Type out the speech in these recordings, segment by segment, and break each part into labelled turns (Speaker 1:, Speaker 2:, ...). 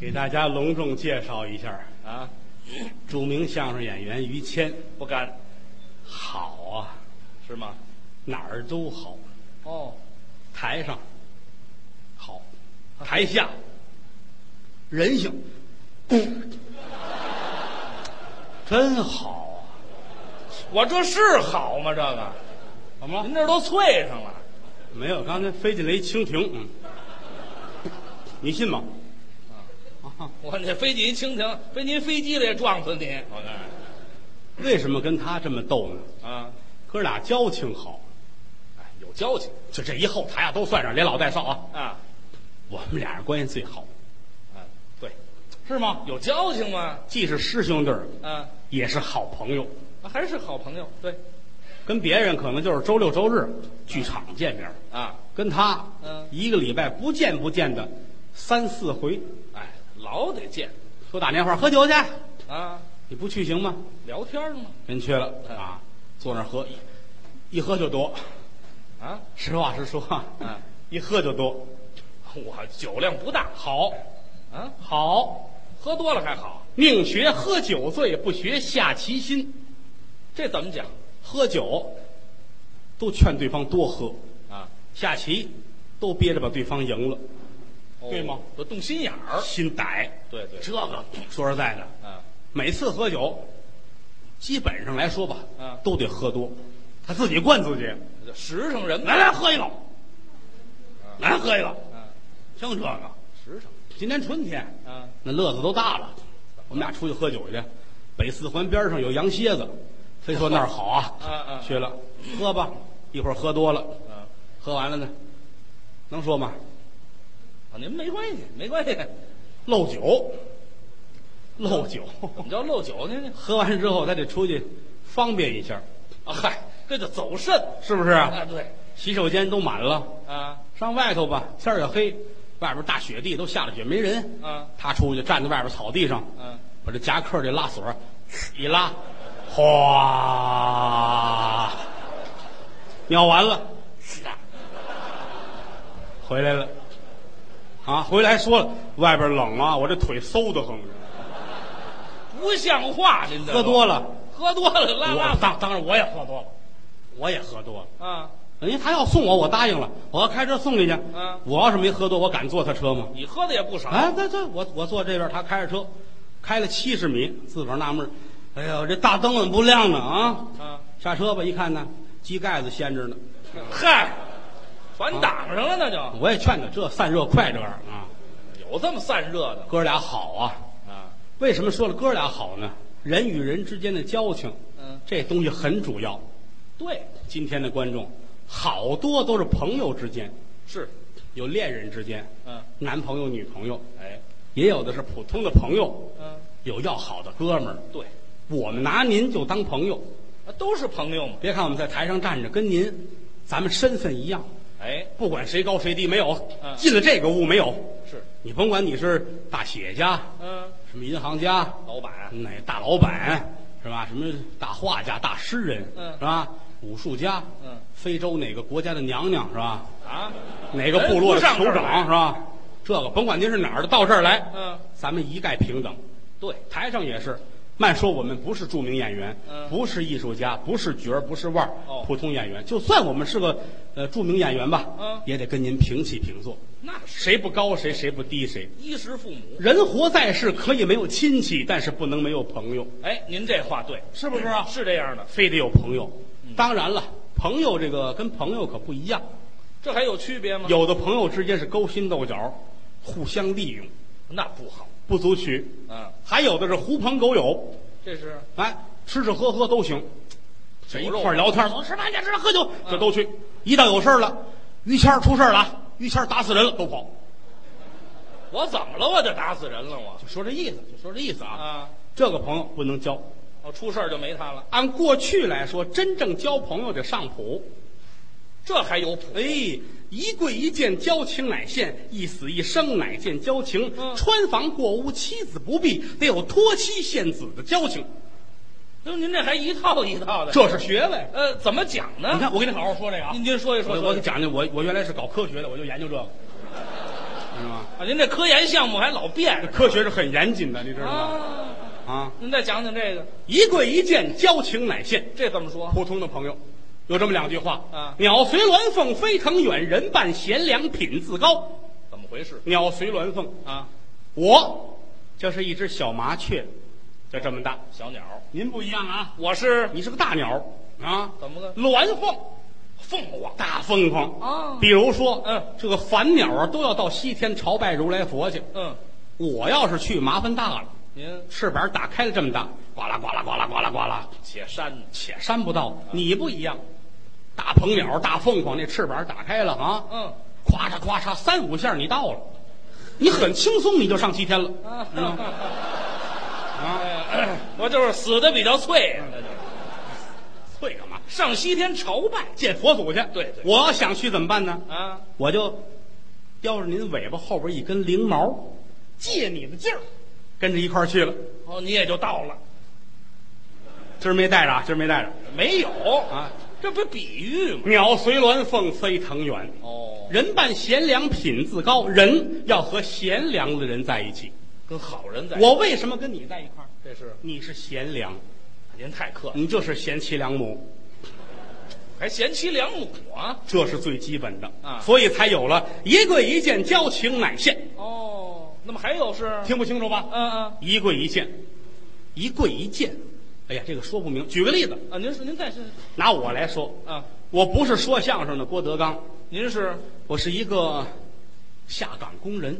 Speaker 1: 给大家隆重介绍一下
Speaker 2: 啊，
Speaker 1: 著名相声演员于谦。
Speaker 2: 不敢，
Speaker 1: 好啊，
Speaker 2: 是吗？
Speaker 1: 哪儿都好，
Speaker 2: 哦，
Speaker 1: 台上好，台下人性，真好啊！
Speaker 2: 我这是好吗？这个，
Speaker 1: 怎么
Speaker 2: 您
Speaker 1: 了？
Speaker 2: 这都脆上了，
Speaker 1: 没有，刚才飞进来一蜻蜓，嗯，你信吗？啊，
Speaker 2: 我这飞机一蜻蜓，被您飞机了也撞死你！我看
Speaker 1: 为什么跟他这么逗呢？
Speaker 2: 啊，
Speaker 1: 哥俩交情好，
Speaker 2: 哎，有交情
Speaker 1: 就这一后台啊，都算上，连老带少啊，
Speaker 2: 啊，
Speaker 1: 我们俩人关系最好，
Speaker 2: 啊，对，
Speaker 1: 是吗？
Speaker 2: 有交情吗？
Speaker 1: 既是师兄弟儿，
Speaker 2: 啊，
Speaker 1: 也是好朋友，
Speaker 2: 还是好朋友，对，
Speaker 1: 跟别人可能就是周六周日剧场见面，
Speaker 2: 啊，
Speaker 1: 跟他
Speaker 2: 嗯
Speaker 1: 一个礼拜不见不见的三四回，
Speaker 2: 哎，老得见
Speaker 1: 说打电话喝酒去，
Speaker 2: 啊，
Speaker 1: 你不去行吗？
Speaker 2: 聊天嘛，
Speaker 1: 人缺了
Speaker 2: 嗯
Speaker 1: 啊，坐那儿喝，一一喝就多，
Speaker 2: 啊，
Speaker 1: 实话实说，
Speaker 2: 嗯，
Speaker 1: 一喝就多，
Speaker 2: 我酒量不大
Speaker 1: 好，
Speaker 2: 啊，
Speaker 1: 好，
Speaker 2: 喝多了还好，
Speaker 1: 宁学喝酒醉，不学下棋心。
Speaker 2: 这怎么讲
Speaker 1: 喝酒都劝对方多喝，
Speaker 2: 啊？
Speaker 1: 下棋都憋着把对方赢了，
Speaker 2: 哦
Speaker 1: 对吗？
Speaker 2: 我动心眼儿，
Speaker 1: 心歹。
Speaker 2: 对对
Speaker 1: 这个说实在的，
Speaker 2: 啊，
Speaker 1: 每次喝酒，基本上来说吧，
Speaker 2: 嗯
Speaker 1: 都得喝多。他自己灌自己，
Speaker 2: 这实诚人嘛
Speaker 1: 来来喝一个，来喝一个，
Speaker 2: 啊，
Speaker 1: 净这个。
Speaker 2: 实诚。
Speaker 1: 今年春天，
Speaker 2: 啊，
Speaker 1: 那乐子都大了，我们俩出去喝酒去。北四环边上有羊蝎子，非说那儿好 啊，
Speaker 2: 嗯嗯
Speaker 1: 去了，喝吧。一会儿喝多了，
Speaker 2: 啊，
Speaker 1: 喝完了呢，能说吗？
Speaker 2: 啊您没关系，没关系。
Speaker 1: 漏酒，漏酒，
Speaker 2: 怎么叫漏酒呢？
Speaker 1: 喝完之后他得出去方便一下，
Speaker 2: 啊，嗨，这叫走肾。
Speaker 1: 是不是啊？
Speaker 2: 啊，对，
Speaker 1: 洗手间都满了，
Speaker 2: 啊
Speaker 1: 上外头吧，天儿也黑，外边大雪地都下了雪，没人。
Speaker 2: 啊
Speaker 1: 他出去站在外边草地上，
Speaker 2: 啊，
Speaker 1: 把这夹克这拉锁一拉，哗，尿完了，回来了，啊，回来还说了，外边冷啊，我这腿馊得很。
Speaker 2: 不像话，您这
Speaker 1: 喝多了，
Speaker 2: 喝多了拉
Speaker 1: 我
Speaker 2: 拉
Speaker 1: 当当然我也喝多了，我也喝多了。
Speaker 2: 啊，
Speaker 1: 人家他要送我，我答应了，我要开车送你去。
Speaker 2: 嗯啊
Speaker 1: 我要是没喝多，我敢坐他车吗？
Speaker 2: 你喝的也不少。
Speaker 1: 哎，对对，我我坐这边，他开着车，开了七十米，自个儿纳闷儿，哎呦，这大灯怎么不亮呢？啊，
Speaker 2: 啊，
Speaker 1: 下车吧，一看呢，机盖子掀着呢。
Speaker 2: 嗨，全挡上了，那就
Speaker 1: 我也劝他，这散热快这玩意儿啊，
Speaker 2: 有这么散热的
Speaker 1: 哥俩好啊。
Speaker 2: 啊？
Speaker 1: 为什么说了哥俩好呢？人与人之间的交情，
Speaker 2: 嗯，
Speaker 1: 这东西很主要。
Speaker 2: 对，
Speaker 1: 今天的观众，好多都是朋友之间，
Speaker 2: 是，
Speaker 1: 有恋人之间，
Speaker 2: 嗯，
Speaker 1: 男朋友、女朋友，
Speaker 2: 哎，
Speaker 1: 也有的是普通的朋友，
Speaker 2: 嗯，
Speaker 1: 有要好的哥们儿。
Speaker 2: 对，
Speaker 1: 我们拿您就当朋友，
Speaker 2: 啊都是朋友嘛。
Speaker 1: 别看我们在台上站着，跟您咱们身份一样，
Speaker 2: 哎，
Speaker 1: 不管谁高谁低，没有
Speaker 2: 嗯
Speaker 1: 进了这个屋没有。
Speaker 2: 是，
Speaker 1: 你甭管你是大企业家、
Speaker 2: 嗯，
Speaker 1: 什么银行家、
Speaker 2: 老板，
Speaker 1: 哪大老板是吧？什么大画家、大诗人
Speaker 2: 嗯
Speaker 1: 是吧？武术家，
Speaker 2: 嗯，
Speaker 1: 非洲哪个国家的娘娘是吧？
Speaker 2: 啊，
Speaker 1: 哪个部落的
Speaker 2: 人不上
Speaker 1: 酋
Speaker 2: 这儿来
Speaker 1: 长是吧？这个甭管您是哪儿的，到这儿来，
Speaker 2: 嗯，
Speaker 1: 咱们一概平等。
Speaker 2: 对，
Speaker 1: 台上也是，慢说我们不是著名演员，
Speaker 2: 嗯
Speaker 1: 不是艺术家，不是角儿，不是腕儿，
Speaker 2: 哦
Speaker 1: 普通演员。就算我们是个呃著名演员吧，
Speaker 2: 嗯
Speaker 1: 也得跟您平起平坐，
Speaker 2: 那是
Speaker 1: 谁不高谁，谁不低谁。
Speaker 2: 衣食父母。
Speaker 1: 人活在世，可以没有亲戚，但是不能没有朋友，
Speaker 2: 哎，您这话对，
Speaker 1: 是不是啊？
Speaker 2: 是这样的，
Speaker 1: 非得有朋友。
Speaker 2: 嗯
Speaker 1: 当然了，朋友这个跟朋友可不一样，
Speaker 2: 这还有区别吗？，
Speaker 1: 有的朋友之间是勾心斗角，互相利用，
Speaker 2: 那不好。
Speaker 1: 不足取；
Speaker 2: 嗯，
Speaker 1: 还有的是狐朋狗友，
Speaker 2: 这是
Speaker 1: 哎，吃吃喝喝都行，这一
Speaker 2: 酒肉
Speaker 1: 块儿聊天，走吃饭去，吃饭喝酒，这都去。一到有事儿了，于谦儿出事儿了啊，于谦儿打死人了，都跑。
Speaker 2: 我怎么了？我就打死人了我
Speaker 1: 就说这意思，就说这意思啊。
Speaker 2: 啊！
Speaker 1: 这个朋友不能交。
Speaker 2: 我出事儿就没他了，
Speaker 1: 按过去来说，真正交朋友得上谱。
Speaker 2: 这还有谱？
Speaker 1: 哎，一跪一见，交情乃现；一死一生，乃见交情。
Speaker 2: 嗯
Speaker 1: 穿房过屋，妻子不避，得有托妻献子的交情，
Speaker 2: 就您这还一套一套的，
Speaker 1: 这是学问。
Speaker 2: 呃怎么讲呢？
Speaker 1: 你看，我给你好好说这个啊。
Speaker 2: 您您说一说，
Speaker 1: 我
Speaker 2: 说
Speaker 1: 我
Speaker 2: 一
Speaker 1: 给
Speaker 2: 说
Speaker 1: 讲讲，我我原来是搞科学的，我就研究这个，知道吗？
Speaker 2: 啊，您这科研项目还老变
Speaker 1: 科学是很严谨的，你知道吗？
Speaker 2: 啊！
Speaker 1: 啊，
Speaker 2: 您再讲讲这个，
Speaker 1: 一跪一见，交情乃现。
Speaker 2: 这怎么说？
Speaker 1: 普通的朋友，有这么两句话
Speaker 2: 啊
Speaker 1: 鸟随鸾凤飞腾远，人伴贤良品自高。
Speaker 2: 怎么回事
Speaker 1: 鸟随鸾凤，
Speaker 2: 啊？
Speaker 1: 我就是一只小麻雀，就这么大。
Speaker 2: 小鸟，
Speaker 1: 您不一样啊，
Speaker 2: 我是
Speaker 1: 你是个大鸟啊，
Speaker 2: 怎么个
Speaker 1: 鸾凤，
Speaker 2: 凤凰
Speaker 1: 大凤凰
Speaker 2: 哦
Speaker 1: 比如说，
Speaker 2: 嗯，
Speaker 1: 这个凡鸟啊，都要到西天朝拜如来佛去。
Speaker 2: 嗯，
Speaker 1: 我要是去，麻烦大了，
Speaker 2: 您
Speaker 1: 翅膀打开了这么大，呱啦呱啦呱啦呱啦呱啦，
Speaker 2: 且山呢？
Speaker 1: 且扇不到。你不一样，大鹏鸟、大凤凰那翅膀打开了啊，
Speaker 2: 嗯，
Speaker 1: 咵嚓咵嚓三五下你到了，你很轻松你就上西天了。
Speaker 2: 啊
Speaker 1: 嗯啊，
Speaker 2: 我就是死的比较脆，
Speaker 1: 退干嘛？
Speaker 2: 上西天朝拜
Speaker 1: 见佛祖去。
Speaker 2: 对对
Speaker 1: 我要想去怎么办呢？
Speaker 2: 啊！
Speaker 1: 我就叼着您尾巴后边一根翎毛，借你的劲儿，跟着一块儿去了。
Speaker 2: 哦，你也就到了，
Speaker 1: 今儿没带着啊，今儿没带着。
Speaker 2: 没有
Speaker 1: 啊，
Speaker 2: 这不比喻吗？
Speaker 1: 鸟随鸾凤飞腾远，
Speaker 2: 哦，
Speaker 1: 人伴贤良品自高。人要和贤良的人在一起。
Speaker 2: 跟好人在，
Speaker 1: 我为什么跟你在一块儿？
Speaker 2: 这是
Speaker 1: 你是贤良，
Speaker 2: 您太客气，
Speaker 1: 你就是贤妻良母，
Speaker 2: 还贤妻良母啊？
Speaker 1: 这是最基本的
Speaker 2: 啊
Speaker 1: 所以才有了一跪一见，交情乃现。
Speaker 2: 哦，那么还有是，
Speaker 1: 听不清楚吧？
Speaker 2: 嗯嗯
Speaker 1: 一跪一见，一跪一见。哎呀，这个说不明。举个例子，
Speaker 2: 啊，您是您再是
Speaker 1: 拿我来说，
Speaker 2: 啊，
Speaker 1: 我不是说相声的郭德纲，
Speaker 2: 您是
Speaker 1: 我是一个下岗工人，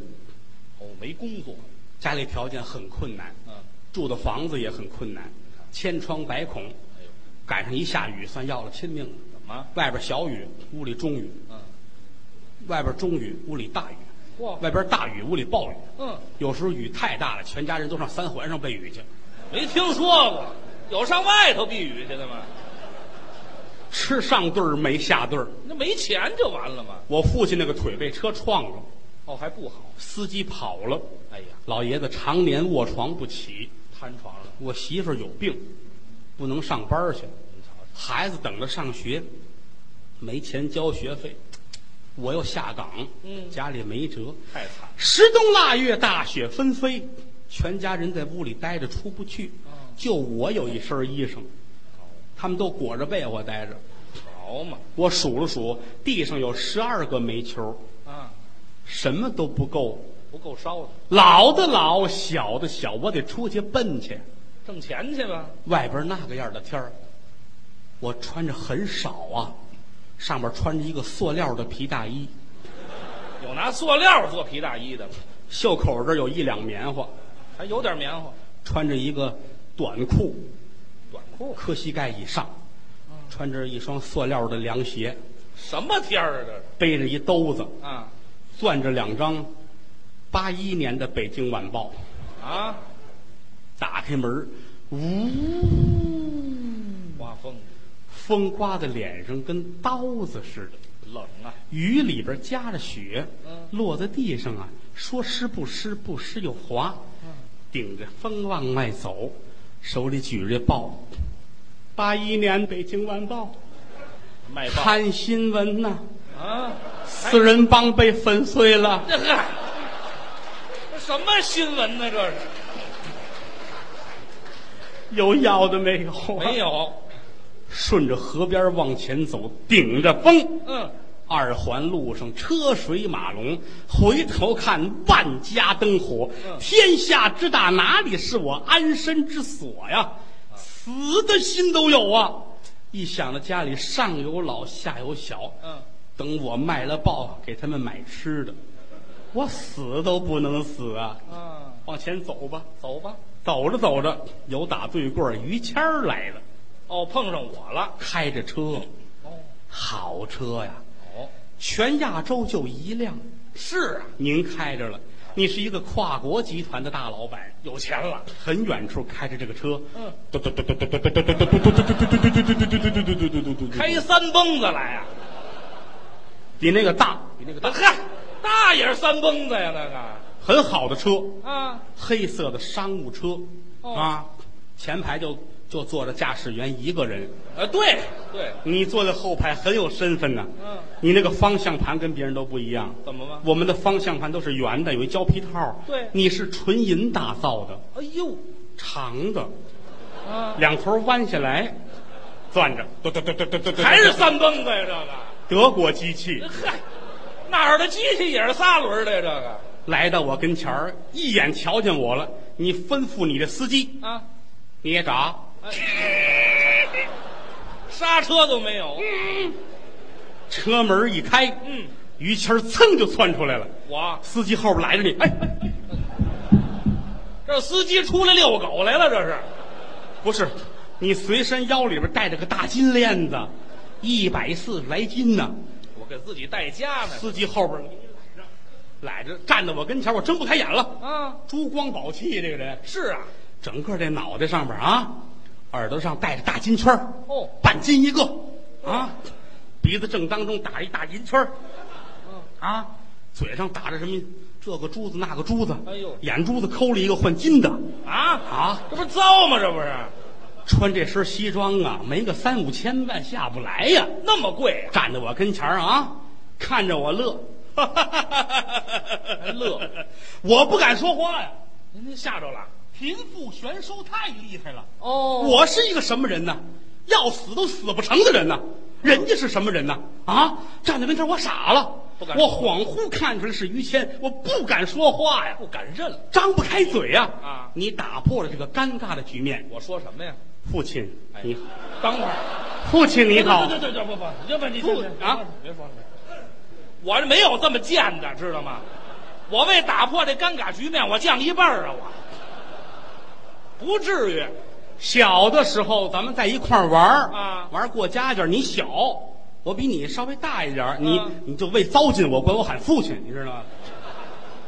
Speaker 2: 哦没工作，
Speaker 1: 家里条件很困难，
Speaker 2: 嗯，
Speaker 1: 住的房子也很困难，千疮百孔。
Speaker 2: 哎呦，
Speaker 1: 赶上一下雨，算要了亲命了。
Speaker 2: 怎么？
Speaker 1: 外边小雨，屋里中雨；
Speaker 2: 嗯，
Speaker 1: 外边中雨，屋里大雨；
Speaker 2: 嚯，
Speaker 1: 外边大雨，屋里暴雨。
Speaker 2: 嗯，
Speaker 1: 有时候雨太大了，全家人都上三环上避雨去。
Speaker 2: 没听说过，有上外头避雨去的吗？
Speaker 1: 吃上顿儿没下顿儿。
Speaker 2: 那没钱就完了吗？
Speaker 1: 我父亲那个腿被车撞了，
Speaker 2: 哦，还不好，
Speaker 1: 司机跑了，
Speaker 2: 哎呀，
Speaker 1: 老爷子常年卧床不起。
Speaker 2: 瘫床上，
Speaker 1: 我媳妇儿有病，不能上班去，
Speaker 2: 您瞧瞧，
Speaker 1: 孩子等着上学，没钱交学费，我又下岗，
Speaker 2: 嗯
Speaker 1: 家里没辙。
Speaker 2: 太惨了，
Speaker 1: 十冬腊月，大雪纷飞，全家人在屋里待着出不去，就我有一身衣裳，他们都裹着被窝待着。
Speaker 2: 好嘛，
Speaker 1: 我数了数，地上有十二个煤球，
Speaker 2: 啊，
Speaker 1: 什么都不够，
Speaker 2: 不够烧的，
Speaker 1: 老的老，小的小，我得出去奔去。
Speaker 2: 挣钱去吧。
Speaker 1: 外边那个样的天儿，我穿着很少啊，上面穿着一个塑料的皮大衣，
Speaker 2: 有拿塑料做皮大衣的吗？
Speaker 1: 袖口这儿有一两棉花，
Speaker 2: 还有点棉花，
Speaker 1: 穿着一个短裤，
Speaker 2: 短裤，
Speaker 1: 磕膝盖以上，穿着一双塑料的凉鞋，
Speaker 2: 什么天儿啊这是？
Speaker 1: 背着一兜子，
Speaker 2: 啊
Speaker 1: 攥着两张八一年的《北京晚报》，
Speaker 2: 啊，
Speaker 1: 打开门，呜，
Speaker 2: 刮风，
Speaker 1: 风刮在脸上跟刀子似的。
Speaker 2: 冷啊，
Speaker 1: 雨里边夹着雪，
Speaker 2: 嗯
Speaker 1: 落在地上啊，说湿不湿，不湿又滑。顶着风往外走，手里举着报，八一年《北京晚报
Speaker 2: 卖》报
Speaker 1: 看新闻呐、
Speaker 2: 啊，
Speaker 1: 四人帮被粉碎了，
Speaker 2: 这嗨，这什么新闻呢？这是
Speaker 1: 有要的没有、啊
Speaker 2: 没。有，
Speaker 1: 顺着河边往前走，顶着风，
Speaker 2: 嗯，
Speaker 1: 二环路上车水马龙，回头看万家灯火，
Speaker 2: 嗯
Speaker 1: 天下之大，哪里是我安身之所呀？死的心都有啊！一想到家里上有老下有小，
Speaker 2: 嗯，
Speaker 1: 等我卖了报给他们买吃的，我死都不能死啊！
Speaker 2: 啊，
Speaker 1: 往前走吧，
Speaker 2: 走吧。
Speaker 1: 走着走着，有打对过儿于谦儿来了，
Speaker 2: 哦，碰上我了。
Speaker 1: 开着车，
Speaker 2: 哦，
Speaker 1: 好车呀，
Speaker 2: 哦，
Speaker 1: 全亚洲就一辆。
Speaker 2: 是啊，
Speaker 1: 您开着了，你是一个跨国集团的大老板，
Speaker 2: 有钱了。
Speaker 1: 很远处开着这个车，
Speaker 2: 嗯，
Speaker 1: 嘟嘟嘟嘟嘟嘟嘟嘟嘟嘟嘟嘟嘟嘟嘟嘟嘟嘟，
Speaker 2: 开三蹦子来呀、
Speaker 1: 比那个大，比那个大，
Speaker 2: 啊！嗨，那也是三蹦子呀，那
Speaker 1: 很好的车，
Speaker 2: 个啊，
Speaker 1: 黑色的商务车，啊，前排就就坐着驾驶员一个人。
Speaker 2: 啊，对对，
Speaker 1: 你坐在后排很有身份呐、
Speaker 2: 嗯
Speaker 1: 你那个方向盘跟别人都不一样。
Speaker 2: 怎么了
Speaker 1: 我们的方向盘都是圆的，有一胶皮套。
Speaker 2: 对
Speaker 1: 你是纯银打造的，
Speaker 2: 哎呦，
Speaker 1: 长的，
Speaker 2: 啊，
Speaker 1: 两头弯下来，攥着，嘟嘟嘟嘟嘟嘟嘟
Speaker 2: 还是三蹦子呀，这
Speaker 1: 德国机器
Speaker 2: 个，嗨，哪儿的机器也是仨轮儿的呀，这个
Speaker 1: 来到我跟前儿，一眼瞧见我了，你吩咐你的司机，
Speaker 2: 啊，
Speaker 1: 你也找，
Speaker 2: 刹车都没有，
Speaker 1: 车门一开，
Speaker 2: 嗯，
Speaker 1: 于谦儿噌就窜出来了，
Speaker 2: 我
Speaker 1: 司机后边来着你，哎，哎哎
Speaker 2: 这司机出来遛狗来了，这是
Speaker 1: 不是，你随身腰里边带着个大金链子，一百四十来斤呢、
Speaker 2: 我给自己带家呢，
Speaker 1: 司机后边揽着，站在我跟前儿，我睁不开眼了。
Speaker 2: 啊，
Speaker 1: 珠光宝气这个人，
Speaker 2: 是啊，
Speaker 1: 整个这脑袋上边啊，耳朵上戴着大金圈儿
Speaker 2: 哦
Speaker 1: 半斤一个啊，鼻子正当中打一大银圈儿
Speaker 2: 嗯
Speaker 1: 啊，嘴上打着什么这个珠子那个珠子，
Speaker 2: 哎呦
Speaker 1: 眼珠子抠了一个换金的
Speaker 2: 啊，
Speaker 1: 啊，
Speaker 2: 这不是糟吗？这不是
Speaker 1: 穿这身西装啊，没个三五千万下不来呀、
Speaker 2: 那么贵啊呀、
Speaker 1: 站在我跟前儿啊，看着我乐，
Speaker 2: 乐，
Speaker 1: 我不敢说话呀、
Speaker 2: 您吓着了？
Speaker 1: 贫富悬殊太厉害了。
Speaker 2: 哦我
Speaker 1: 我是一个什么人呢？要死都死不成的人呢。人家是什么人呢？啊，站在跟前儿我傻了，
Speaker 2: 不敢
Speaker 1: 我
Speaker 2: 说
Speaker 1: 恍惚看出来是于谦，我不敢说话呀，
Speaker 2: 不敢认了。
Speaker 1: 张不开嘴呀。
Speaker 2: 啊
Speaker 1: 你打破了这个尴尬的局面。
Speaker 2: 我说什么呀？
Speaker 1: 父亲，
Speaker 2: 哎
Speaker 1: 你，
Speaker 2: 等会儿，
Speaker 1: 父亲你好，
Speaker 2: 对对对对，不不，你就问你
Speaker 1: 不啊，
Speaker 2: 别说了，我这没有这么贱的，知道吗？我为打破这尴尬局面，我降一半儿啊，我不至于。
Speaker 1: 小的时候咱们在一块儿玩儿
Speaker 2: 啊
Speaker 1: 玩儿过家家。你小，我比你稍微大一点儿，你
Speaker 2: 啊
Speaker 1: 你就为糟践我，管我喊父亲，你知道吗？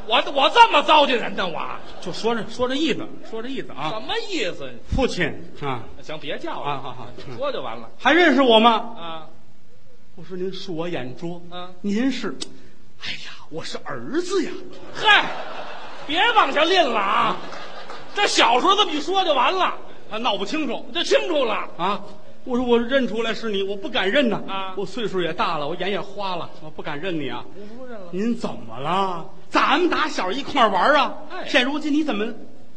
Speaker 2: 我我这么糟践人呢？我
Speaker 1: 就说这说这意思，说这意思啊
Speaker 2: 什，么意思？
Speaker 1: 父亲啊，
Speaker 2: 行，别叫了
Speaker 1: 啊好好嗯
Speaker 2: 说就完了
Speaker 1: 还认识我吗？
Speaker 2: 啊。
Speaker 1: 我说您恕我眼拙，
Speaker 2: 啊
Speaker 1: 您是，哎呀，我是儿子呀，
Speaker 2: 嗨，别往下拎了啊！这小时候这么一说就完了，
Speaker 1: 啊，闹不清楚
Speaker 2: 我就清楚了。
Speaker 1: 啊。我说我认出来是你，我不敢认呐、
Speaker 2: 啊
Speaker 1: 我岁数也大了，我眼也花了，我不敢认你啊。
Speaker 2: 我不认了。
Speaker 1: 您怎么了？咱们打小一块儿玩儿啊，
Speaker 2: 哎
Speaker 1: 现如今你怎么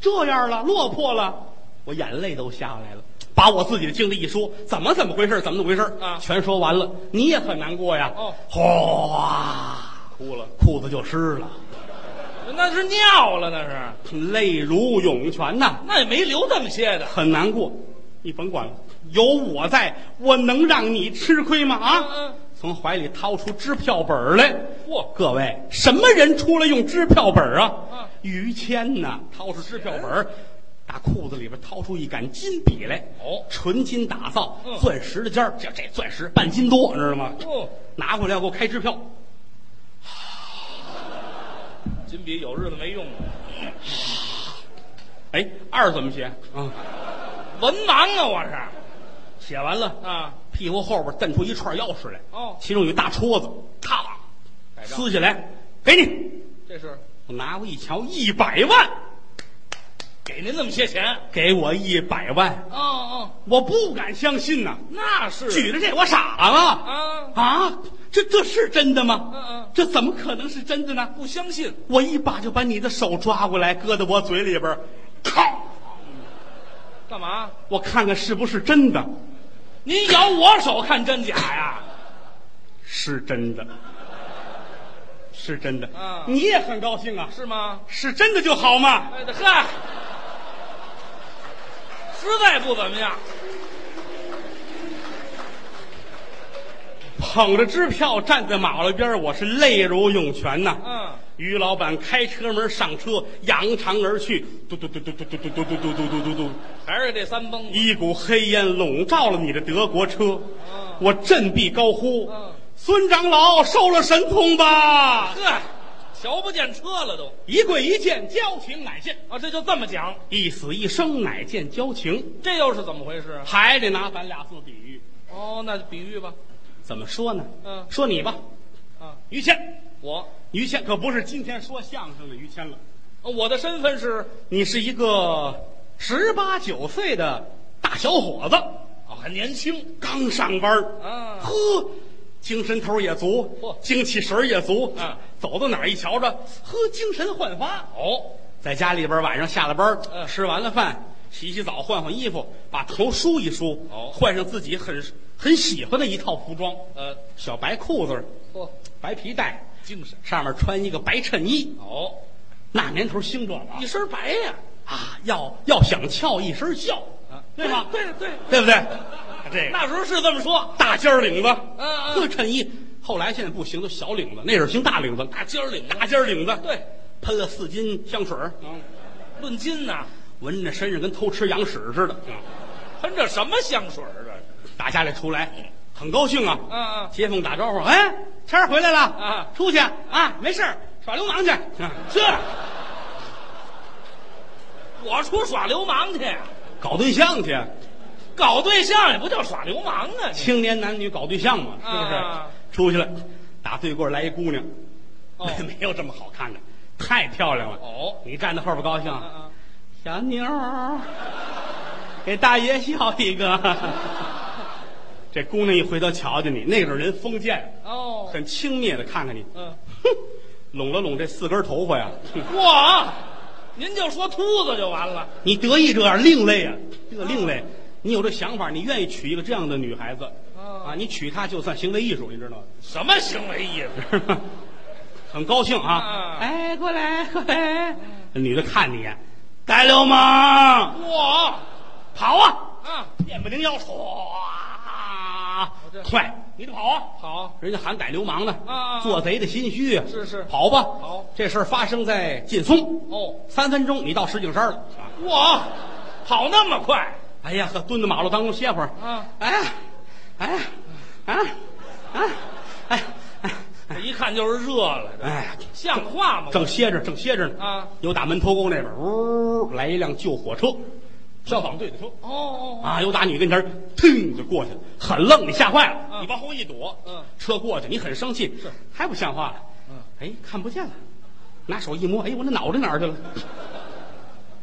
Speaker 1: 这样了，落魄了？我眼泪都下来了，把我自己的经历一说，怎么怎么回事，怎么怎么回事
Speaker 2: 啊
Speaker 1: 全说完了，你也很难过呀。
Speaker 2: 哦
Speaker 1: 哗，
Speaker 2: 哭了，
Speaker 1: 裤子就湿了，
Speaker 2: 那是尿了，那是，
Speaker 1: 泪如涌泉呐、
Speaker 2: 那也没留这么些的。
Speaker 1: 很难过。你甭管了，有我在，我能让你吃亏吗？啊！
Speaker 2: 嗯嗯
Speaker 1: 从怀里掏出支票本儿来。
Speaker 2: 嚯
Speaker 1: 各位，什么人出来用支票本儿啊？哎
Speaker 2: 嗯
Speaker 1: 于谦呐，掏出支票本儿，打裤子里边掏出一杆金笔来。
Speaker 2: 哦
Speaker 1: 纯金打造，
Speaker 2: 嗯
Speaker 1: 钻石的尖儿，这这钻石半斤多，知道吗？
Speaker 2: 哦，
Speaker 1: 拿回来要给我开支票。
Speaker 2: 金笔有日子没用了，
Speaker 1: 哎，二怎么写啊？
Speaker 2: 文盲啊，我是
Speaker 1: 写完了，
Speaker 2: 啊。
Speaker 1: 屁股后边蹬出一串钥匙来，
Speaker 2: 哦
Speaker 1: 其中有一大戳子，咔，
Speaker 2: 改账
Speaker 1: 撕下来给你。
Speaker 2: 这是
Speaker 1: 我拿过一瞧，一百万，
Speaker 2: 给您那么些钱。
Speaker 1: 给我一百万，
Speaker 2: 哦哦，
Speaker 1: 我不敢相信呐、
Speaker 2: 那是
Speaker 1: 举着这我傻了
Speaker 2: 啊，
Speaker 1: 啊！这这是真的吗？
Speaker 2: 嗯嗯
Speaker 1: 这怎么可能是真的呢？
Speaker 2: 不相信，
Speaker 1: 我一把就把你的手抓过来，搁在我嘴里边儿，靠！
Speaker 2: 干嘛？
Speaker 1: 我看看是不是真的，
Speaker 2: 您咬我手看真假呀？
Speaker 1: 是真的，是真的。
Speaker 2: 啊
Speaker 1: 你也很高兴啊，
Speaker 2: 是吗？
Speaker 1: 是真的就好嘛。
Speaker 2: 哎，嗨，实在不怎么样。
Speaker 1: 捧着支票站在马路边儿，我是泪如涌泉呐、
Speaker 2: 嗯，
Speaker 1: 于老板开车门上车，扬长而去，嘟嘟嘟嘟嘟嘟嘟嘟嘟嘟嘟嘟嘟嘟，
Speaker 2: 还是这三蹦子。
Speaker 1: 一股黑烟笼罩了你的德国车
Speaker 2: 嗯。
Speaker 1: 我振臂高呼
Speaker 2: 嗯：“
Speaker 1: 孙长老收了神通吧
Speaker 2: 呵，瞧不见车了都！”
Speaker 1: 一跪一见，交情乃现；
Speaker 2: 啊！这就这么讲，
Speaker 1: 一死一生，乃见交情。
Speaker 2: 这又是怎么回事啊？
Speaker 1: 还得拿咱俩做比喻，
Speaker 2: 哦，那比喻吧，
Speaker 1: 怎么说呢？
Speaker 2: 嗯
Speaker 1: 说你吧，
Speaker 2: 啊，
Speaker 1: 于谦，
Speaker 2: 我，
Speaker 1: 于谦可不是今天说相声的于谦了。
Speaker 2: 哦我的身份是
Speaker 1: 你是一个十八九岁的大大小伙子，啊
Speaker 2: 哦，还年轻
Speaker 1: 刚上班儿
Speaker 2: 啊
Speaker 1: 呵，精神头儿也足
Speaker 2: 嚯，
Speaker 1: 精气神儿也足
Speaker 2: 啊
Speaker 1: 走到哪儿一瞧着，呵，精神焕发。
Speaker 2: 哦，
Speaker 1: 在家里边儿晚上下了班儿，
Speaker 2: 嗯
Speaker 1: 吃完了饭，洗洗澡，换换衣服，把头梳一梳，
Speaker 2: 哦
Speaker 1: 换上自己很很喜欢的一套服装，
Speaker 2: 呃，
Speaker 1: 小白裤子儿，
Speaker 2: 嚯，
Speaker 1: 白皮带，
Speaker 2: 精神
Speaker 1: 上面穿一个白衬衣。
Speaker 2: 哦，
Speaker 1: 那年头兴这个啊
Speaker 2: 一身白呀，
Speaker 1: 啊，要要想翘一身翘，对吗？
Speaker 2: 啊对对，
Speaker 1: 对不对？这个
Speaker 2: 那时候是这么说，
Speaker 1: 大尖儿领子，
Speaker 2: 嗯
Speaker 1: 呵，衬衣。后来现在不行，都小领子，那时候兴大领子，
Speaker 2: 大尖儿领子，
Speaker 1: 大尖儿领子，
Speaker 2: 对，嗯
Speaker 1: 喷了四斤香水儿，
Speaker 2: 论斤呐，
Speaker 1: 闻着身上跟偷吃羊屎似的。啊
Speaker 2: 喷着什么香水儿啊这？
Speaker 1: 打家里出来，很高兴啊。
Speaker 2: 嗯嗯
Speaker 1: 街坊打招呼，哎，天儿回来了
Speaker 2: 啊
Speaker 1: 出去啊，没事儿耍流氓去。啊
Speaker 2: 这，我出耍流氓去，
Speaker 1: 搞对象去，
Speaker 2: 搞对象也不叫耍流氓啊，你
Speaker 1: 青年男女搞对象嘛，是不是？
Speaker 2: 啊
Speaker 1: 出去了，打对过来一姑娘，
Speaker 2: 哦
Speaker 1: 没有这么好看的，太漂亮了。
Speaker 2: 哦，
Speaker 1: 你站在后边高兴啊，
Speaker 2: 啊
Speaker 1: 小妞儿，给大爷笑一个。 这姑娘一回头瞧见你，那个人封建，
Speaker 2: 哦，
Speaker 1: 很轻蔑的看看你，
Speaker 2: 嗯，
Speaker 1: 哼，拢了拢这四根头发呀， 哼
Speaker 2: 哇，您就说秃子就完了，
Speaker 1: 你得意这样另类啊，这个另类，你有这想法，你愿意娶一个这样的女孩子，
Speaker 2: 哦
Speaker 1: 啊，你娶她就算行为艺术，你知道吗？
Speaker 2: 什么行为意思？
Speaker 1: 很高兴啊
Speaker 2: 啊！
Speaker 1: 哎，过来过来，女的看你，该流氓，
Speaker 2: 哇，
Speaker 1: 跑啊！
Speaker 2: 啊，
Speaker 1: 电不灵腰，唰，
Speaker 2: 这
Speaker 1: 快，你得跑啊！
Speaker 2: 好，
Speaker 1: 人家喊逮流氓呢，
Speaker 2: 啊啊
Speaker 1: 做贼的心虚啊！
Speaker 2: 是是
Speaker 1: 跑吧！
Speaker 2: 好
Speaker 1: 这事儿发生在劲松，
Speaker 2: 哦，
Speaker 1: 三分钟你到石景山了。啊
Speaker 2: 哇，跑那么快，
Speaker 1: 哎呀呵，蹲在马路当中歇会儿。
Speaker 2: 啊
Speaker 1: 哎呀，哎呀，啊啊，哎呀哎呀
Speaker 2: 这一看就是热了，这
Speaker 1: 哎呀，
Speaker 2: 像话吗？
Speaker 1: 正歇着，正歇着呢。
Speaker 2: 啊，
Speaker 1: 有打门头沟那边，呜，来一辆救火车，消防队的车。
Speaker 2: 哦哦，
Speaker 1: 啊，有打你跟前儿，腾就过去了，很愣，你吓坏了，
Speaker 2: 嗯
Speaker 1: 你往啊后一躲，
Speaker 2: 嗯
Speaker 1: 车过去，你很生气，
Speaker 2: 是
Speaker 1: 太不像话了，
Speaker 2: 嗯，
Speaker 1: 哎，看不见了，拿手一摸，哎，我那脑袋哪儿去了？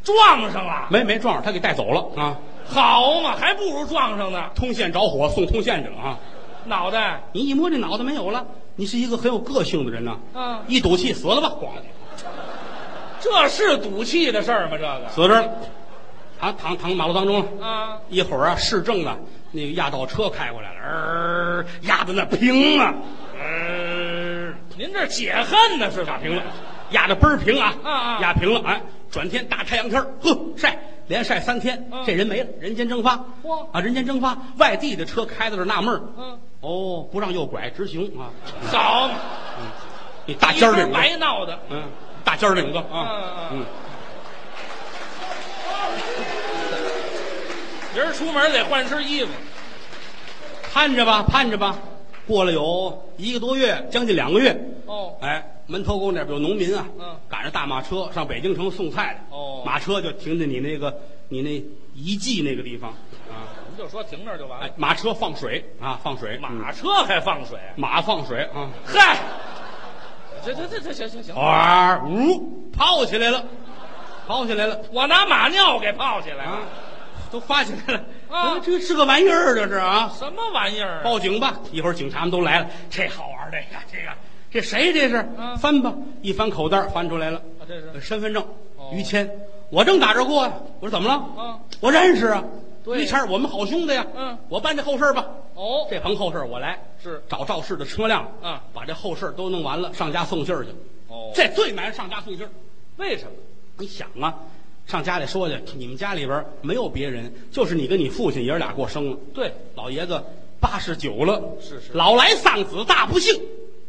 Speaker 2: 撞上了，
Speaker 1: 没没撞上，他给带走了啊！
Speaker 2: 好嘛，还不如撞上呢，
Speaker 1: 通县着火，送通县去了啊！
Speaker 2: 脑袋，
Speaker 1: 你一摸这脑袋没有了，你是一个很有个性的人呐、
Speaker 2: 嗯
Speaker 1: 一赌气死了吧，咣，
Speaker 2: 这是赌气的事儿吗？这个
Speaker 1: 死这儿了，啊，躺躺马路当中了。
Speaker 2: 啊，
Speaker 1: 一会儿啊，市政啊，那个压道车开过来了，呃，压的那平啊，呃。
Speaker 2: 您这解恨呢是咋
Speaker 1: 平了，压的倍儿平啊，
Speaker 2: 啊啊
Speaker 1: 压平了，哎，转天大太阳天儿呵，晒连晒三天，
Speaker 2: 嗯
Speaker 1: 这人没了，人间蒸发，
Speaker 2: 嚯
Speaker 1: 啊，人间蒸发，外地的车开到这儿纳闷儿，
Speaker 2: 嗯，
Speaker 1: 哦，不让右拐直行啊，
Speaker 2: 好嘛，
Speaker 1: 你大尖儿
Speaker 2: 一
Speaker 1: 领
Speaker 2: 边
Speaker 1: 子，
Speaker 2: 白闹的，
Speaker 1: 嗯，大尖儿领子
Speaker 2: 嗯
Speaker 1: 啊，
Speaker 2: 嗯
Speaker 1: 嗯，
Speaker 2: 明儿出门得换身衣服，
Speaker 1: 盼着吧，盼着吧，过了有一个多月，将近两个月，
Speaker 2: 哦，
Speaker 1: 哎，门头沟那边有农民啊，
Speaker 2: 嗯
Speaker 1: 赶着大马车上北京城送菜的，
Speaker 2: 哦
Speaker 1: 马车就停在你那个你那遗迹那个地方啊。
Speaker 2: 您就说停那儿就完
Speaker 1: 哎
Speaker 2: 了，，
Speaker 1: 马车放水啊，放水，
Speaker 2: 马
Speaker 1: 嗯
Speaker 2: 车还放水，
Speaker 1: 马放水啊，
Speaker 2: 嗨，这这这这行行行，
Speaker 1: 哇呜，泡起来了，泡起来了
Speaker 2: 我拿马尿给泡起来
Speaker 1: 啊
Speaker 2: 了，，
Speaker 1: 都发起来了
Speaker 2: 啊
Speaker 1: 哎这是个玩意儿，这是啊，
Speaker 2: 什么玩意儿啊？
Speaker 1: 报警吧，一会儿警察们都来了，这好玩儿，这个这个，这谁这是？
Speaker 2: 嗯
Speaker 1: 翻吧，一翻口袋儿翻出来了，
Speaker 2: 啊这是
Speaker 1: 呃身份证
Speaker 2: 哦，
Speaker 1: 于谦，我正打这过呀，我说怎么了？
Speaker 2: 啊，
Speaker 1: 我认识啊，
Speaker 2: 对
Speaker 1: 于谦儿，我们好兄弟呀，
Speaker 2: 嗯，
Speaker 1: 我办这后事儿吧，
Speaker 2: 哦，
Speaker 1: 这棚后事儿我来，
Speaker 2: 是
Speaker 1: 找肇事的车辆，
Speaker 2: 啊
Speaker 1: 把这后事儿都弄完了，上家送信儿去。
Speaker 2: 哦，
Speaker 1: 这最难上家送信儿。
Speaker 2: 为什么？
Speaker 1: 你想啊，上家里说去，你们家里边没有别人，就是你跟你父亲爷儿俩过生了。
Speaker 2: 对，
Speaker 1: 老爷子八十九了，
Speaker 2: 是是
Speaker 1: 老来丧子大不幸。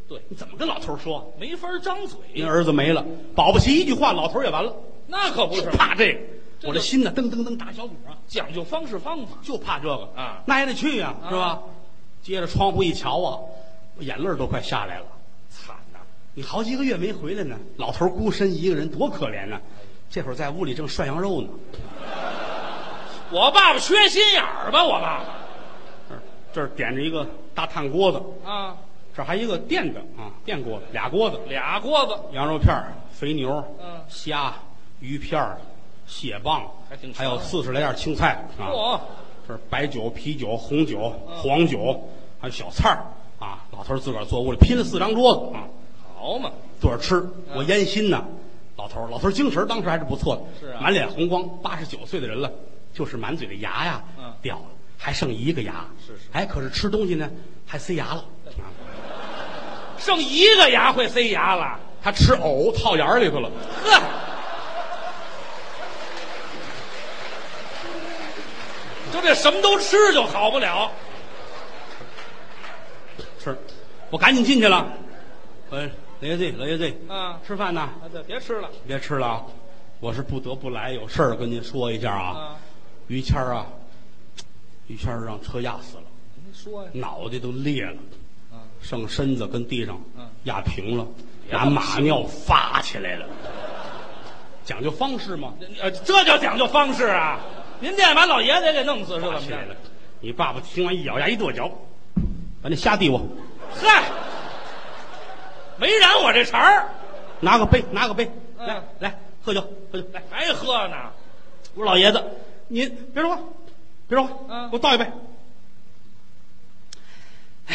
Speaker 2: 对
Speaker 1: 你怎么跟老头儿说？
Speaker 2: 没法张嘴，
Speaker 1: 您儿子没了，保不齐一句话，老头儿也完了。
Speaker 2: 那可不
Speaker 1: 就是怕这个，
Speaker 2: 这就
Speaker 1: 我这心呢，噔噔噔打小鼓啊，
Speaker 2: 讲究方式方法。
Speaker 1: 就怕这个
Speaker 2: 啊
Speaker 1: 那也得去呀、
Speaker 2: 啊
Speaker 1: 是吧？接着窗户一瞧啊，我眼泪儿都快下来了。
Speaker 2: 惨呐、
Speaker 1: 你好几个月没回来呢，老头儿孤身一个人，多可怜呐！这会儿在屋里正涮羊肉呢，
Speaker 2: 我爸爸缺心眼儿吧？我爸爸
Speaker 1: 这儿这儿点着一个大炭锅子，
Speaker 2: 啊，
Speaker 1: 这儿还一个电的啊，电锅子，俩锅子，
Speaker 2: 俩锅子，
Speaker 1: 羊肉片儿、肥牛、
Speaker 2: 嗯
Speaker 1: 虾、鱼片儿、蟹棒
Speaker 2: 还挺，全
Speaker 1: 还有四十来样青菜啊！
Speaker 2: 嚯、
Speaker 1: 这儿白酒、啤酒、红酒、黄酒，还有小菜儿啊。老头儿自个儿坐屋里拼了四张桌子啊，
Speaker 2: 好嘛，
Speaker 1: 坐着
Speaker 2: 嗯
Speaker 1: 吃。我烟熏呐，老头儿，老头儿精神儿当时还是不错的，
Speaker 2: 是啊
Speaker 1: 满脸红光，八十九岁的人了，就是满嘴的牙呀、
Speaker 2: 嗯
Speaker 1: 掉了，还剩一个牙。
Speaker 2: 是是
Speaker 1: 哎，可是吃东西呢，还塞牙了。啊
Speaker 2: 剩一个牙会塞牙了，
Speaker 1: 他吃藕套眼儿里头了，
Speaker 2: 呵，就这什么都吃就好不了。
Speaker 1: 吃。我赶紧进去了。嗯，老爷子，老爷子，
Speaker 2: 啊
Speaker 1: 吃饭呢？
Speaker 2: 啊，对，别吃了
Speaker 1: 别吃了啊，我是不得不来，有事儿跟您说一下啊。！于谦儿啊，于谦儿让车压死了，
Speaker 2: 您说呀，
Speaker 1: 脑袋都裂了，
Speaker 2: 啊，
Speaker 1: 剩身子跟地上
Speaker 2: 嗯
Speaker 1: 压平了，
Speaker 2: 别
Speaker 1: 拿
Speaker 2: 这么
Speaker 1: 马尿发起来了。讲究方式嘛，
Speaker 2: 呃，这叫讲究方式啊！您这样把老爷子也给弄死是怎
Speaker 1: 发
Speaker 2: 么
Speaker 1: 起啊来了
Speaker 2: 着？。
Speaker 1: 你爸爸听完一咬牙一跺脚，把那虾递我，
Speaker 2: 嗨，没染我这茬儿，
Speaker 1: 拿个杯，拿个杯，
Speaker 2: 嗯
Speaker 1: 来来喝酒喝酒来。
Speaker 2: 还喝呢？
Speaker 1: 我说老爷子，您别说话，别说话，
Speaker 2: 嗯
Speaker 1: 给我倒一杯。哎，哎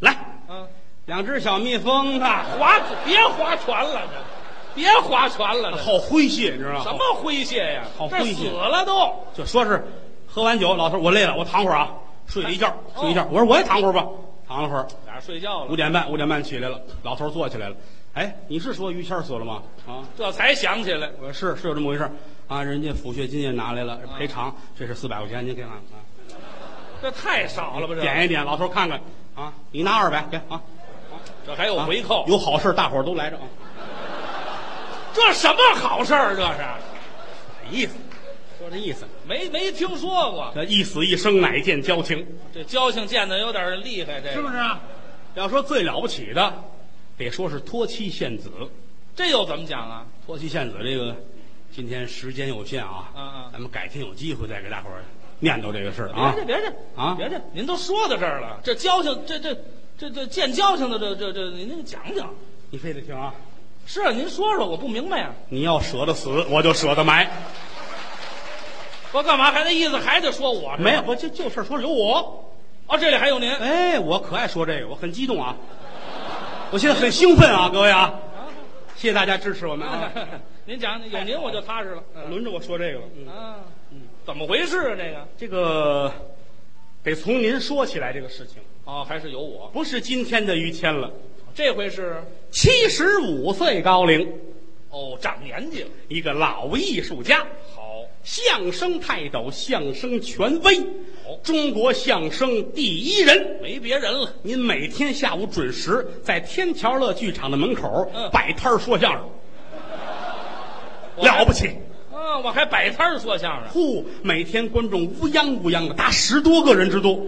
Speaker 1: 来，
Speaker 2: 啊，
Speaker 1: 两只小蜜蜂
Speaker 2: 那
Speaker 1: 啊，
Speaker 2: 划别划船了，这别划船了，这
Speaker 1: 好诙谐，你知道吗？
Speaker 2: 什？么诙谐呀？
Speaker 1: 好
Speaker 2: 这
Speaker 1: 诙谐
Speaker 2: 死了都，
Speaker 1: 就说是喝完酒，老头儿我累了，我躺会儿啊，睡了一觉，
Speaker 2: 哦
Speaker 1: 睡一觉。我说我也躺会儿吧，躺了会儿，
Speaker 2: 哪儿睡觉
Speaker 1: 五
Speaker 2: 了？
Speaker 1: 点半，五点半起来了，老头儿坐起来了。哎，你是说于谦儿死了吗？啊，
Speaker 2: 这才想起来，
Speaker 1: 我说是是有这么回事儿啊，人家抚恤金也拿来了，赔偿，
Speaker 2: 嗯
Speaker 1: 这是四百块钱，您给看看啊。
Speaker 2: 这太少了吧？
Speaker 1: 点
Speaker 2: 这
Speaker 1: 一点，老头儿看看啊，你拿二百给啊，
Speaker 2: 这还有回扣，
Speaker 1: 有好事儿大伙儿都来着啊。
Speaker 2: 这什么好事儿？这是
Speaker 1: 意思，说这意思，
Speaker 2: 没没听说过，
Speaker 1: 这一死一生乃见交情，
Speaker 2: 这交情见的有点厉害，这个
Speaker 1: 是不是啊？要说最了不起的，得说是托妻献子。
Speaker 2: 这又怎么讲啊？
Speaker 1: 托妻献子这个，今天时间有限啊，
Speaker 2: 嗯嗯
Speaker 1: 咱们改天有机会再给大伙儿念叨这个事儿啊
Speaker 2: 别。介别介
Speaker 1: 啊
Speaker 2: 别介，您都说到这儿了，这交情，这这这这见交情的这这这，您您讲讲。
Speaker 1: 你非得听啊！
Speaker 2: 是啊，您说说，我不明白呀、
Speaker 1: 你要舍得死，我就舍得埋。
Speaker 2: 我干嘛还那意思还得说我？
Speaker 1: 没有，我就就事儿说有我。
Speaker 2: 哦，这里还有您。
Speaker 1: 哎，我可爱说这个，我很激动啊！我现在很兴奋啊，各位啊！谢谢大家支持我们啊！
Speaker 2: 您讲讲，有您我就踏实了。
Speaker 1: 轮着我说这个了。嗯
Speaker 2: 啊，怎么回事啊？这个
Speaker 1: 这个得从您说起来这个事情，
Speaker 2: 哦，还是有我。
Speaker 1: 不是今天的于谦了，
Speaker 2: 这回是
Speaker 1: 七十五岁高龄，
Speaker 2: 哦，长年纪了。
Speaker 1: 一个老艺术家，
Speaker 2: 好，
Speaker 1: 相声泰斗，相声权威
Speaker 2: 哦，
Speaker 1: 中国相声第一人。
Speaker 2: 没别人了。
Speaker 1: 您每天下午准时在天桥乐剧场的门口
Speaker 2: 嗯
Speaker 1: 摆摊儿说相声，
Speaker 2: 我还
Speaker 1: 了不起！
Speaker 2: 啊！我还摆摊儿说相声，
Speaker 1: 呼，每天观众乌泱乌泱的，达十多个人之多，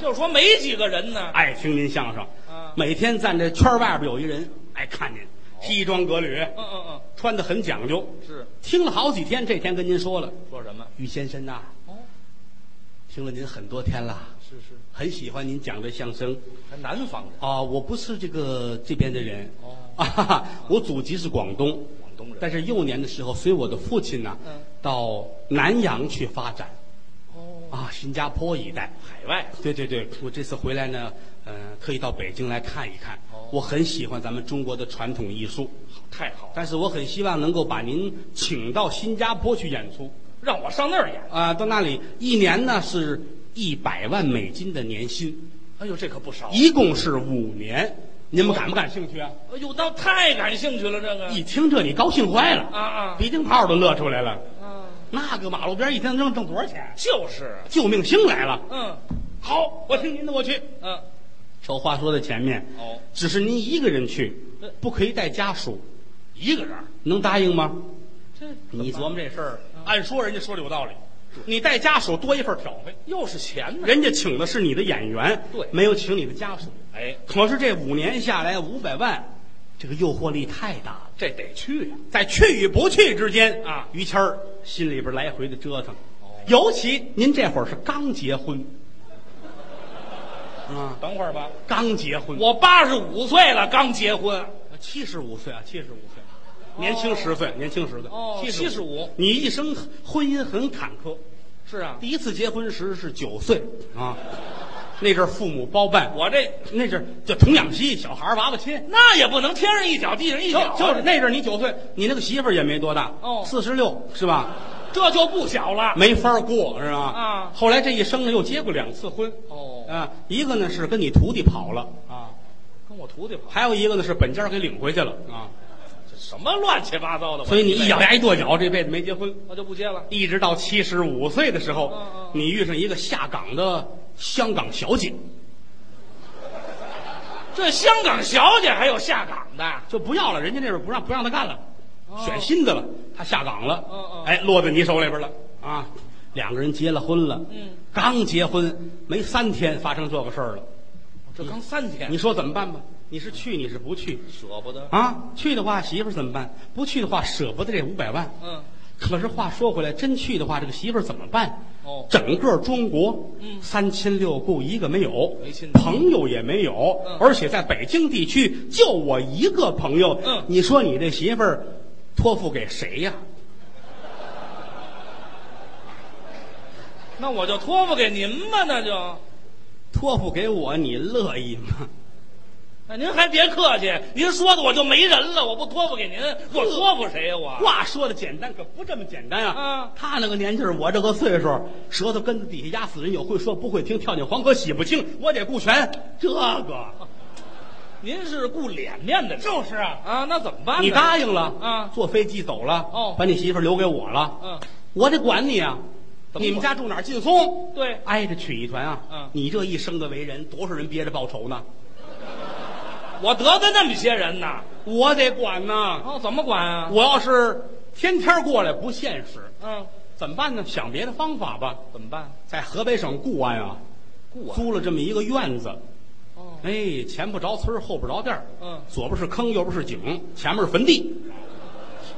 Speaker 2: 就是说没几个人呢。
Speaker 1: 爱听您相声
Speaker 2: 嗯。
Speaker 1: 每天站在圈儿外边有一人爱看您，西装革履，
Speaker 2: 嗯嗯
Speaker 1: 穿的很讲究。
Speaker 2: 嗯，是
Speaker 1: 听了好几天，这天跟您说了，
Speaker 2: 说什么？
Speaker 1: 于先生呐、
Speaker 2: 哦，
Speaker 1: 听了您很多天了，
Speaker 2: 是是，
Speaker 1: 很喜欢您讲的相声
Speaker 2: 还南方人，
Speaker 1: 啊。我不是这个这边的人，
Speaker 2: 哦
Speaker 1: 啊 哈哈，我祖籍是广东，
Speaker 2: 广东人
Speaker 1: 但是幼年的时候，随我的父亲呢、
Speaker 2: 嗯
Speaker 1: 到南洋去发展
Speaker 2: 哦，
Speaker 1: 啊，新加坡一带。
Speaker 2: 海外
Speaker 1: 对对对，我这次回来呢，呃，特意到北京来看一看
Speaker 2: 哦。
Speaker 1: 我很喜欢咱们中国的传统艺术，
Speaker 2: 太好了，
Speaker 1: 但是我很希望能够把您请到新加坡去演出。
Speaker 2: 让我上那儿演。
Speaker 1: 啊、到那里一年呢是一百万美金的年薪，
Speaker 2: 哎呦，这可不少。
Speaker 1: 一共是五年。你们感不感兴趣啊？
Speaker 2: 哎呦，那太感兴趣了，这个
Speaker 1: 一听这，你高兴坏了，
Speaker 2: 啊啊
Speaker 1: 鼻涕泡都乐出来了。
Speaker 2: 啊，
Speaker 1: 那个马路边一天能挣多少钱？
Speaker 2: 就是，
Speaker 1: 救命星来了！
Speaker 2: 嗯
Speaker 1: 好，我听您的，我去。
Speaker 2: 嗯，
Speaker 1: 丑话说在前面，
Speaker 2: 哦，
Speaker 1: 只是您一个人去
Speaker 2: 那，
Speaker 1: 不可以带家属，
Speaker 2: 一个人儿，
Speaker 1: 能答应吗？
Speaker 2: 这哎
Speaker 1: 你琢磨这嗯事儿，啊按说人家说的有道理，你带家属多一份挑费，
Speaker 2: 又是钱呢？
Speaker 1: 人家请的是你的演员，
Speaker 2: 对
Speaker 1: 没有请你的家属。
Speaker 2: 哎，
Speaker 1: 可是这五年下来，五百万，这个诱惑力太大了，
Speaker 2: 这得去呀。
Speaker 1: 在去与不去之间
Speaker 2: 啊
Speaker 1: 于谦儿心里边来回的折腾。尤其您这会儿是刚结婚， 啊，
Speaker 2: 等会儿吧，
Speaker 1: 刚结婚，
Speaker 2: 我八十五岁了，刚结婚。
Speaker 1: 七十五岁啊，七十五岁，年轻十岁，年轻十岁，
Speaker 2: 哦
Speaker 1: 哦七
Speaker 2: 75
Speaker 1: 你一生婚姻很坎坷，
Speaker 2: 是啊，
Speaker 1: 第一次结婚时是九岁啊，那阵儿父母包办，
Speaker 2: 我这
Speaker 1: 那阵儿叫童养媳，小孩儿娃娃亲。
Speaker 2: 那也不能天上一脚地上一
Speaker 1: 就
Speaker 2: 脚啊，
Speaker 1: 就是那阵儿你九岁，你那个媳妇儿也没多大，
Speaker 2: 哦
Speaker 1: 四十六是吧？
Speaker 2: 这就不小了。
Speaker 1: 没法儿过是吧？
Speaker 2: 啊
Speaker 1: 后来这一生呢，又结过两次婚，
Speaker 2: 哦
Speaker 1: 啊，一个呢是跟你徒弟跑了，
Speaker 2: 啊，跟我徒弟跑，
Speaker 1: 还有一个呢是本家儿给领回去了啊，
Speaker 2: 这什么乱七八糟的？
Speaker 1: 所以你
Speaker 2: 我
Speaker 1: 一咬牙一跺脚，这辈子没结婚，
Speaker 2: 我就不接了。
Speaker 1: 一直到七十五岁的时候，
Speaker 2: 嗯嗯
Speaker 1: 你遇上一个下岗的香港小姐，
Speaker 2: 这香港小姐还有下岗的，
Speaker 1: 就不要了，人家那边不让不让她干了，
Speaker 2: 哦
Speaker 1: 选新的了，她下岗了，
Speaker 2: 嗯嗯
Speaker 1: 哎，落在你手里边了啊，两个人结了婚了，
Speaker 2: 嗯，
Speaker 1: 刚结婚没三天发生这个事儿了，
Speaker 2: 这刚三天，
Speaker 1: 你说怎么办吧？你是去你是不去
Speaker 2: 舍不得。
Speaker 1: 啊？去的话媳妇儿怎么办？不去的话舍不得这五百万，
Speaker 2: 嗯，
Speaker 1: 可是话说回来，真去的话，这个媳妇儿怎么办？
Speaker 2: 哦
Speaker 1: 整个中国，
Speaker 2: 嗯
Speaker 1: 三亲六故一个没有，
Speaker 2: 没亲的
Speaker 1: 朋友也没有，
Speaker 2: 嗯
Speaker 1: 而且在北京地区就我一个朋友。
Speaker 2: 嗯
Speaker 1: 你说你这媳妇儿托付给谁呀、
Speaker 2: 那我就托付给您吧，那就。
Speaker 1: 托付给我，你乐意吗？
Speaker 2: 那您还别客气，您说的我就没人了，我不托付给您，我托付谁呀、我
Speaker 1: 话说的简单，可不这么简单啊
Speaker 2: 啊！
Speaker 1: 他那个年纪儿，我这个岁数，舌头根子底下压死人，有会说不会听，跳进黄河洗不清，我得顾全这
Speaker 2: 啊
Speaker 1: 个。
Speaker 2: 您是顾脸面的人，就是啊啊，那怎么办呢？
Speaker 1: 你答应了
Speaker 2: 啊
Speaker 1: 坐飞机走了
Speaker 2: 哦
Speaker 1: 把你媳妇儿留给我了，
Speaker 2: 嗯，
Speaker 1: 我得管你啊。
Speaker 2: 怎么管
Speaker 1: 你们家住哪儿？劲松，
Speaker 2: 对，
Speaker 1: 挨着曲艺团啊。
Speaker 2: 嗯
Speaker 1: 你这一生的为人，多少人憋着报仇呢？
Speaker 2: 我得罪那么些人呢，
Speaker 1: 我得管呐。
Speaker 2: 哦，怎么管啊？
Speaker 1: 我要是天天过来不现实，
Speaker 2: 嗯，
Speaker 1: 怎么办呢？想别的方法吧。
Speaker 2: 怎么办？
Speaker 1: 在河北省固安啊，
Speaker 2: 雇啊？
Speaker 1: 租了这么一个院子，
Speaker 2: 哦，
Speaker 1: 哎，前不着村，后不着店儿
Speaker 2: 嗯
Speaker 1: 左边是坑，右边是井，前面是坟地，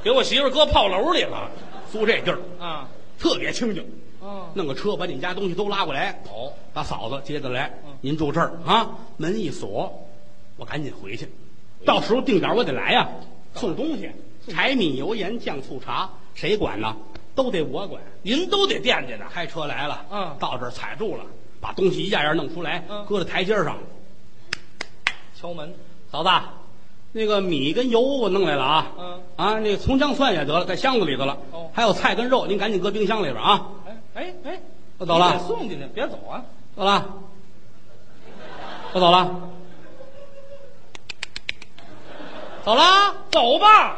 Speaker 2: 给我媳妇儿搁炮楼里了
Speaker 1: 租这地儿
Speaker 2: 啊！
Speaker 1: 特别清静。
Speaker 2: 哦，
Speaker 1: 弄个车把你们家东西都拉过来，
Speaker 2: 哦，
Speaker 1: 把嫂子接过来
Speaker 2: 嗯，
Speaker 1: 您住这儿啊，门一锁，我赶紧回去，到时候定点我得来呀、送东西，柴米油盐酱醋茶谁管呢？都得我管。
Speaker 2: 您都得惦记着。
Speaker 1: 开车来了，
Speaker 2: 嗯
Speaker 1: 到这儿踩住了，把东西一样样弄出来，
Speaker 2: 嗯
Speaker 1: 搁在台阶上。
Speaker 2: 敲门，
Speaker 1: 嫂子，那个米跟油我弄来了啊，
Speaker 2: 嗯
Speaker 1: 啊，那个葱姜蒜也得了，在箱子里头了，
Speaker 2: 哦
Speaker 1: 还有菜跟肉，您赶紧搁冰箱里边啊。
Speaker 2: 哎哎哎，
Speaker 1: 我走了
Speaker 2: 你得送进去，别走啊！
Speaker 1: 走了，我走了，走了，
Speaker 2: 走吧。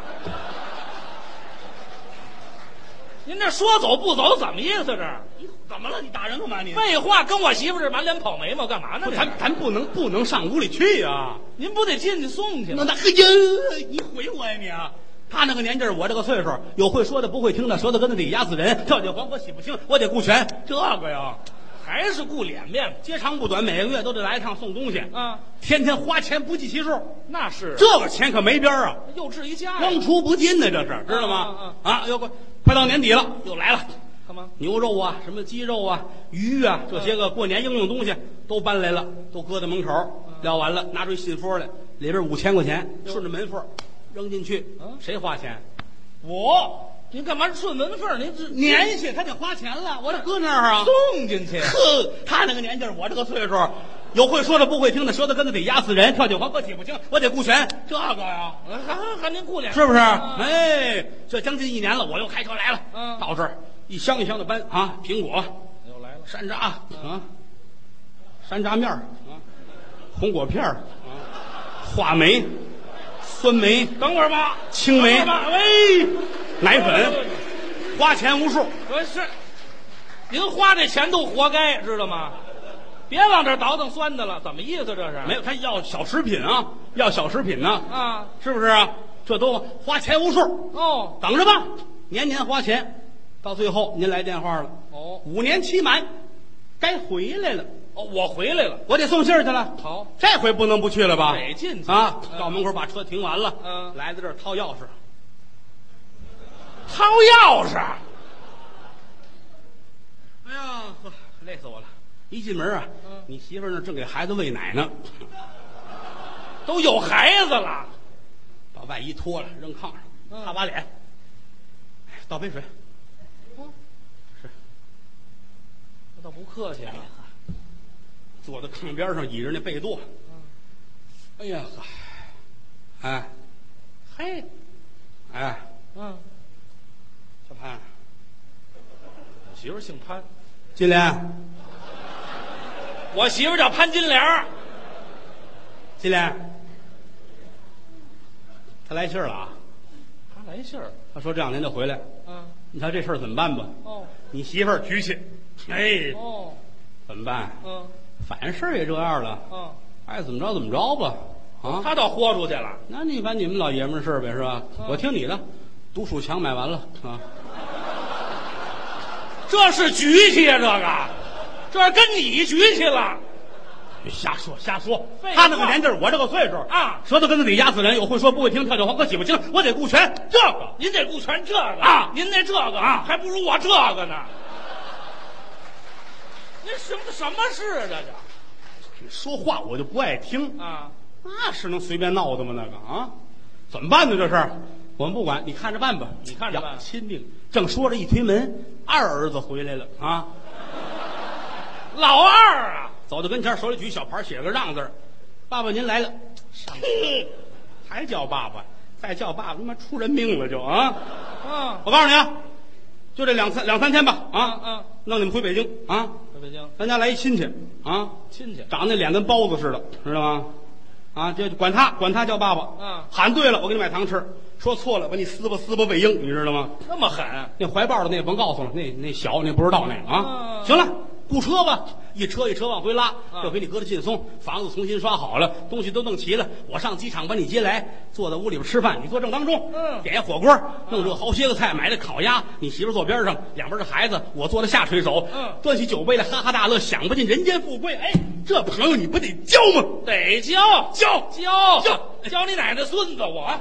Speaker 2: 您这说走不走，怎么意思这是？
Speaker 1: 怎么了？你打人干嘛你
Speaker 2: 废话，跟我媳妇儿这满脸跑眉毛干嘛呢？
Speaker 1: 咱咱不能不能上屋里去啊！
Speaker 2: 您您不得进去送去
Speaker 1: 那
Speaker 2: 吗？
Speaker 1: 那哎呀，你毁我呀你啊！他那个年纪儿，我这个岁数，有会说的不会听的，舌头根子底压死人，跳进黄河洗不清，我得顾全这个呀。
Speaker 2: 还是顾脸面
Speaker 1: 接长不短，每个月都得来一趟送东西，
Speaker 2: 啊？
Speaker 1: 天天花钱不计其数，
Speaker 2: 那是
Speaker 1: 这个钱可没边儿啊！
Speaker 2: 幼稚一家
Speaker 1: 光
Speaker 2: 呀？
Speaker 1: 出不进呢，这是知道吗
Speaker 2: 嗯？
Speaker 1: 啊，又快快到年底了，又来了。
Speaker 2: 干嘛？
Speaker 1: 牛肉啊，什么鸡肉啊、鱼啊，这些个过年应用东西都搬来了，都搁在门口儿。
Speaker 2: 嗯
Speaker 1: 撂完了，拿出一信封来，里边五千块钱，顺着门缝儿扔进去
Speaker 2: 嗯。
Speaker 1: 谁花钱？
Speaker 2: 我，您干嘛顺门缝儿？您这
Speaker 1: 年下他得花钱了，我得搁那儿啊。
Speaker 2: 送进去
Speaker 1: 呵，他那个年纪儿，我这个岁数儿，有会说的不会听的，舌头根子得压死人，跳进黄河洗不清，我得顾全这个呀。
Speaker 2: 啊还还还您顾脸
Speaker 1: 是不是？
Speaker 2: 啊
Speaker 1: 哎，这将近一年了，我又开车来了。
Speaker 2: 嗯
Speaker 1: 到这儿一箱一箱的搬啊，苹果、
Speaker 2: 又来了，
Speaker 1: 山楂啊，山楂面儿啊，红果片儿啊，话梅、酸梅、
Speaker 2: 等会儿吧，
Speaker 1: 青梅
Speaker 2: 等会儿吧喂，
Speaker 1: 奶粉，花钱无数。
Speaker 2: 不是，您花这钱都活该，知道吗？别往这儿倒腾酸的了，怎么意思这是？
Speaker 1: 没有，他要小食品啊，要小食品呢、
Speaker 2: 啊，
Speaker 1: 是不是啊？这都花钱无数，
Speaker 2: 哦
Speaker 1: 等着吧，年年花钱，到最后您来电话了，
Speaker 2: 哦
Speaker 1: 五年期满，该回来了。
Speaker 2: 哦，我回来了，
Speaker 1: 我得送信儿去了。
Speaker 2: 好，
Speaker 1: 这回不能不去了吧？
Speaker 2: 得进去
Speaker 1: 啊！
Speaker 2: 嗯
Speaker 1: 到门口把车停完了，
Speaker 2: 嗯
Speaker 1: 来到这儿掏钥匙，
Speaker 2: 掏钥匙，
Speaker 1: 哎呀，呵累死我了！一进门啊，
Speaker 2: 嗯
Speaker 1: 你媳妇儿那儿正给孩子喂奶呢，
Speaker 2: 都有孩子了，
Speaker 1: 把外衣脱了扔炕上，
Speaker 2: 嗯哦
Speaker 1: 擦把脸，哎倒杯水，是，
Speaker 2: 倒不客气啊。
Speaker 1: 坐在炕边上，倚着那被垛。
Speaker 2: 嗯
Speaker 1: 哎呀，哎，
Speaker 2: 嘿，
Speaker 1: 哎，
Speaker 2: 嗯，
Speaker 1: 小潘，
Speaker 2: 我媳妇儿姓潘，
Speaker 1: 金莲，
Speaker 2: 我媳妇儿叫潘金莲儿
Speaker 1: 金莲，他来信儿了啊！
Speaker 2: 她来信儿。
Speaker 1: 他说这两年就回来，
Speaker 2: 啊，
Speaker 1: 你瞧这事儿怎么办吧？
Speaker 2: 哦，
Speaker 1: 你媳妇儿举起，哎，
Speaker 2: 哦，
Speaker 1: 怎么办？
Speaker 2: 嗯，
Speaker 1: 反正事儿也这样了，
Speaker 2: 嗯，
Speaker 1: 爱怎么着怎么着吧。啊，
Speaker 2: 她倒豁出去了。
Speaker 1: 那你把你们老爷们儿事儿呗，是吧？
Speaker 2: 嗯
Speaker 1: 我听你的，独鼠强买完了啊。
Speaker 2: 这是局气呀、这个，这是跟你局气了。
Speaker 1: 瞎说瞎说
Speaker 2: 废，话
Speaker 1: 他那个年纪儿，我这个岁数
Speaker 2: 啊
Speaker 1: 舌头根子底压死人，有会说不会听，跳跳黄河洗不清，我得顾全这个。
Speaker 2: 您得顾全这个
Speaker 1: 啊
Speaker 2: 您那这个
Speaker 1: 啊
Speaker 2: 还不如我这个呢。您什么什么事啊？这叫
Speaker 1: 说话我就不爱听，
Speaker 2: 啊，
Speaker 1: 那是能随便闹的吗？那个啊，怎么办呢？这事儿我们不管，你看着办吧。
Speaker 2: 你看着办
Speaker 1: 呀亲命！正说着，一推门，二儿子回来了啊，
Speaker 2: 老二啊，
Speaker 1: 走到跟前，手里举小牌，写了个让字儿爸爸您来了，还叫爸爸，再叫爸爸他妈出人命了就啊！
Speaker 2: 啊，
Speaker 1: 我告诉你啊，就这两三两三天吧啊
Speaker 2: 嗯嗯，
Speaker 1: 弄你们回北京啊。
Speaker 2: 回北京
Speaker 1: 咱家来一亲戚啊，
Speaker 2: 亲戚
Speaker 1: 长得脸跟包子似的，知道吗？啊，这管他管他叫爸爸，
Speaker 2: 嗯
Speaker 1: 喊对了我给你买糖吃，说错了我给你撕吧撕吧喂鹰，你知道吗？
Speaker 2: 那么狠，
Speaker 1: 那怀抱的那甭告诉了，那那小那不知道那个啊。
Speaker 2: 嗯
Speaker 1: 行了，雇车吧，一车一车往回拉，
Speaker 2: 嗯
Speaker 1: 这回你搁着劲松，房子重新刷好了，东西都弄齐了，我上机场把你接来，坐在屋里边吃饭，你坐正当中，
Speaker 2: 嗯
Speaker 1: 点一火锅，弄热好些个菜，买的烤鸭，你媳妇坐边上，两边是孩子，我坐在下垂手，
Speaker 2: 嗯
Speaker 1: 端起酒杯来哈哈大乐，享不尽人间富贵，哎，这朋友你不得交吗？
Speaker 2: 得教
Speaker 1: 交
Speaker 2: 教
Speaker 1: 教
Speaker 2: 教你奶奶孙子我。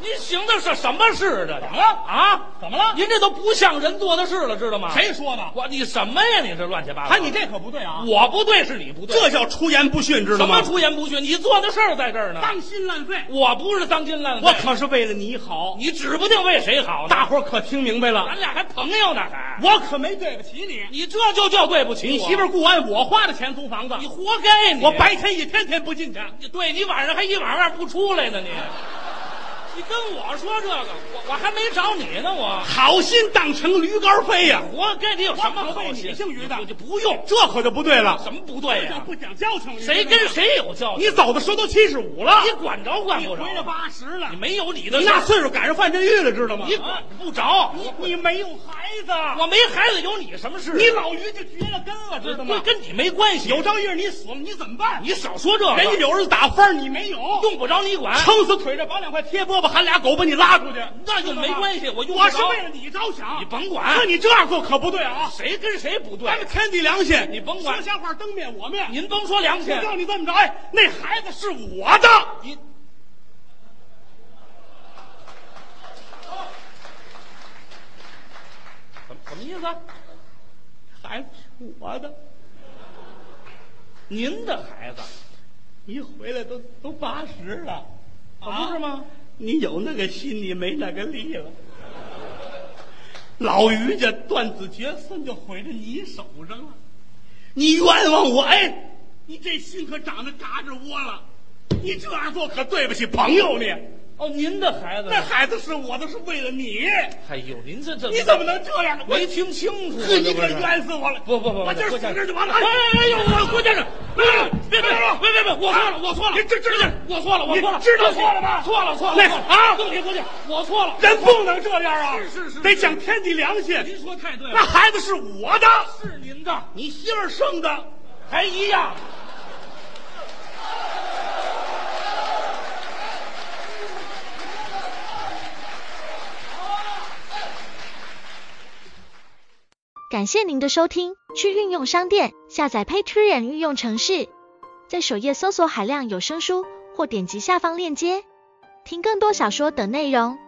Speaker 2: 您行的是什么事？这怎么了啊？
Speaker 1: 怎么了
Speaker 2: 您这都不像人做的事了，知道吗？？
Speaker 1: 谁说的？
Speaker 2: 我你什么呀？你这乱七八糟！
Speaker 1: 哎，你这可不对啊！
Speaker 2: 我不对是你不对，
Speaker 1: 这叫出言不逊，知道
Speaker 2: 什
Speaker 1: 吗
Speaker 2: 么？出言不逊？你做的事儿在这儿呢。
Speaker 1: 当心烂肺。
Speaker 2: 我不是当心烂
Speaker 1: 我
Speaker 2: 肺，
Speaker 1: 可是为了你好，
Speaker 2: 你指不定为谁好呢。
Speaker 1: 大伙儿可听明白了
Speaker 2: 咱，俩还朋友呢，还
Speaker 1: 我可没对不起你。
Speaker 2: 你这就叫对不起
Speaker 1: 你
Speaker 2: 我
Speaker 1: 媳妇儿雇完我花的钱租房子，
Speaker 2: 你活该你！
Speaker 1: 我白天一天天不进去，
Speaker 2: 你，对你晚上还一晚上不出 来呢，你你跟我说这个，我我还没找你呢，我
Speaker 1: 好心当成驴肝肺呀！
Speaker 2: 活该你有什么
Speaker 1: 我可
Speaker 2: 好
Speaker 1: 为
Speaker 2: 心？
Speaker 1: 你姓于的
Speaker 2: 你就不用
Speaker 1: 这可就不对了，
Speaker 2: 什么不对
Speaker 1: 这
Speaker 2: 呀、
Speaker 1: 叫不讲交情。
Speaker 2: 谁
Speaker 1: 你知道
Speaker 2: 跟
Speaker 1: 吗？
Speaker 2: 谁有交情？
Speaker 1: 你走的时候都七十五了，
Speaker 2: 你管着管
Speaker 1: 你
Speaker 2: 不着？
Speaker 1: 回了八十了
Speaker 2: 你，没有你的
Speaker 1: 你
Speaker 2: 事
Speaker 1: 那岁数赶上范振钰了，知道吗？
Speaker 2: 你管不着。
Speaker 1: 你没有孩子，
Speaker 2: 啊我没孩子有你什么事？啊
Speaker 1: 你老于就绝了根了，知道吗
Speaker 2: 这？跟你没关系。
Speaker 1: 有朝一日你死了，你怎么办？
Speaker 2: 你少说这个，
Speaker 1: 人家有儿子打翻，你没有，
Speaker 2: 用不着你管，
Speaker 1: 撑死腿着，把两块贴饽饽，喊俩狗把你拉出去，
Speaker 2: 那就没关系。我用
Speaker 1: 我
Speaker 2: 不
Speaker 1: 是
Speaker 2: 着
Speaker 1: 为了你着想，
Speaker 2: 你甭管
Speaker 1: 那你这样做可不对啊！
Speaker 2: 谁跟谁不对
Speaker 1: 咱。们天地良心，
Speaker 2: 你甭管
Speaker 1: 说瞎话灯灭我灭。
Speaker 2: 您甭说良心
Speaker 1: 我，告诉你这么着，哎，那孩子是我的，
Speaker 2: 你
Speaker 1: 哦
Speaker 2: 怎么什么意思？
Speaker 1: 孩子是我的。
Speaker 2: 您的孩子
Speaker 1: 一回来都都八十了，
Speaker 2: 可
Speaker 1: 啊
Speaker 2: 不是吗？
Speaker 1: 你有那个心，你没那个力了。老于家断子绝孙就毁在你手上了，你冤枉我！哎，你这心可长得嘎吱窝了，你这样做可对不起朋友你。
Speaker 2: 哦，您的孩子呢
Speaker 1: 那。孩子是我的，是为了你，
Speaker 2: 哎呦，您这这
Speaker 1: 你怎么能这样？我
Speaker 2: 没听清楚啊？
Speaker 1: 呵，你
Speaker 2: 这不
Speaker 1: 可
Speaker 2: 是
Speaker 1: 冤死我了！
Speaker 2: 不不不，
Speaker 1: 我今儿
Speaker 2: 郭
Speaker 1: 死
Speaker 2: 先
Speaker 1: 这儿
Speaker 2: 生
Speaker 1: 就完了。哎
Speaker 2: 哎哎哎呦，我郭先生，别别别别别别，我错了，我错了，
Speaker 1: 您知知道
Speaker 2: 我错了，我错了，
Speaker 1: 您知道
Speaker 2: 错了吧？错了错了
Speaker 1: 那
Speaker 2: 错了
Speaker 1: 啊
Speaker 2: 对不起对不起，我错了。
Speaker 1: 人不能这样啊！
Speaker 2: 是是是
Speaker 1: 得讲天地良心。
Speaker 2: 您说太对
Speaker 1: 那
Speaker 2: 了，
Speaker 1: 孩子是我的，
Speaker 2: 是您的，
Speaker 1: 你媳妇儿生的，
Speaker 2: 还一样。
Speaker 3: 感谢您的收听，去运用商店下载 Patreon 运用城市，在首页搜索海量有声书，或点击下方链接听更多小说等内容。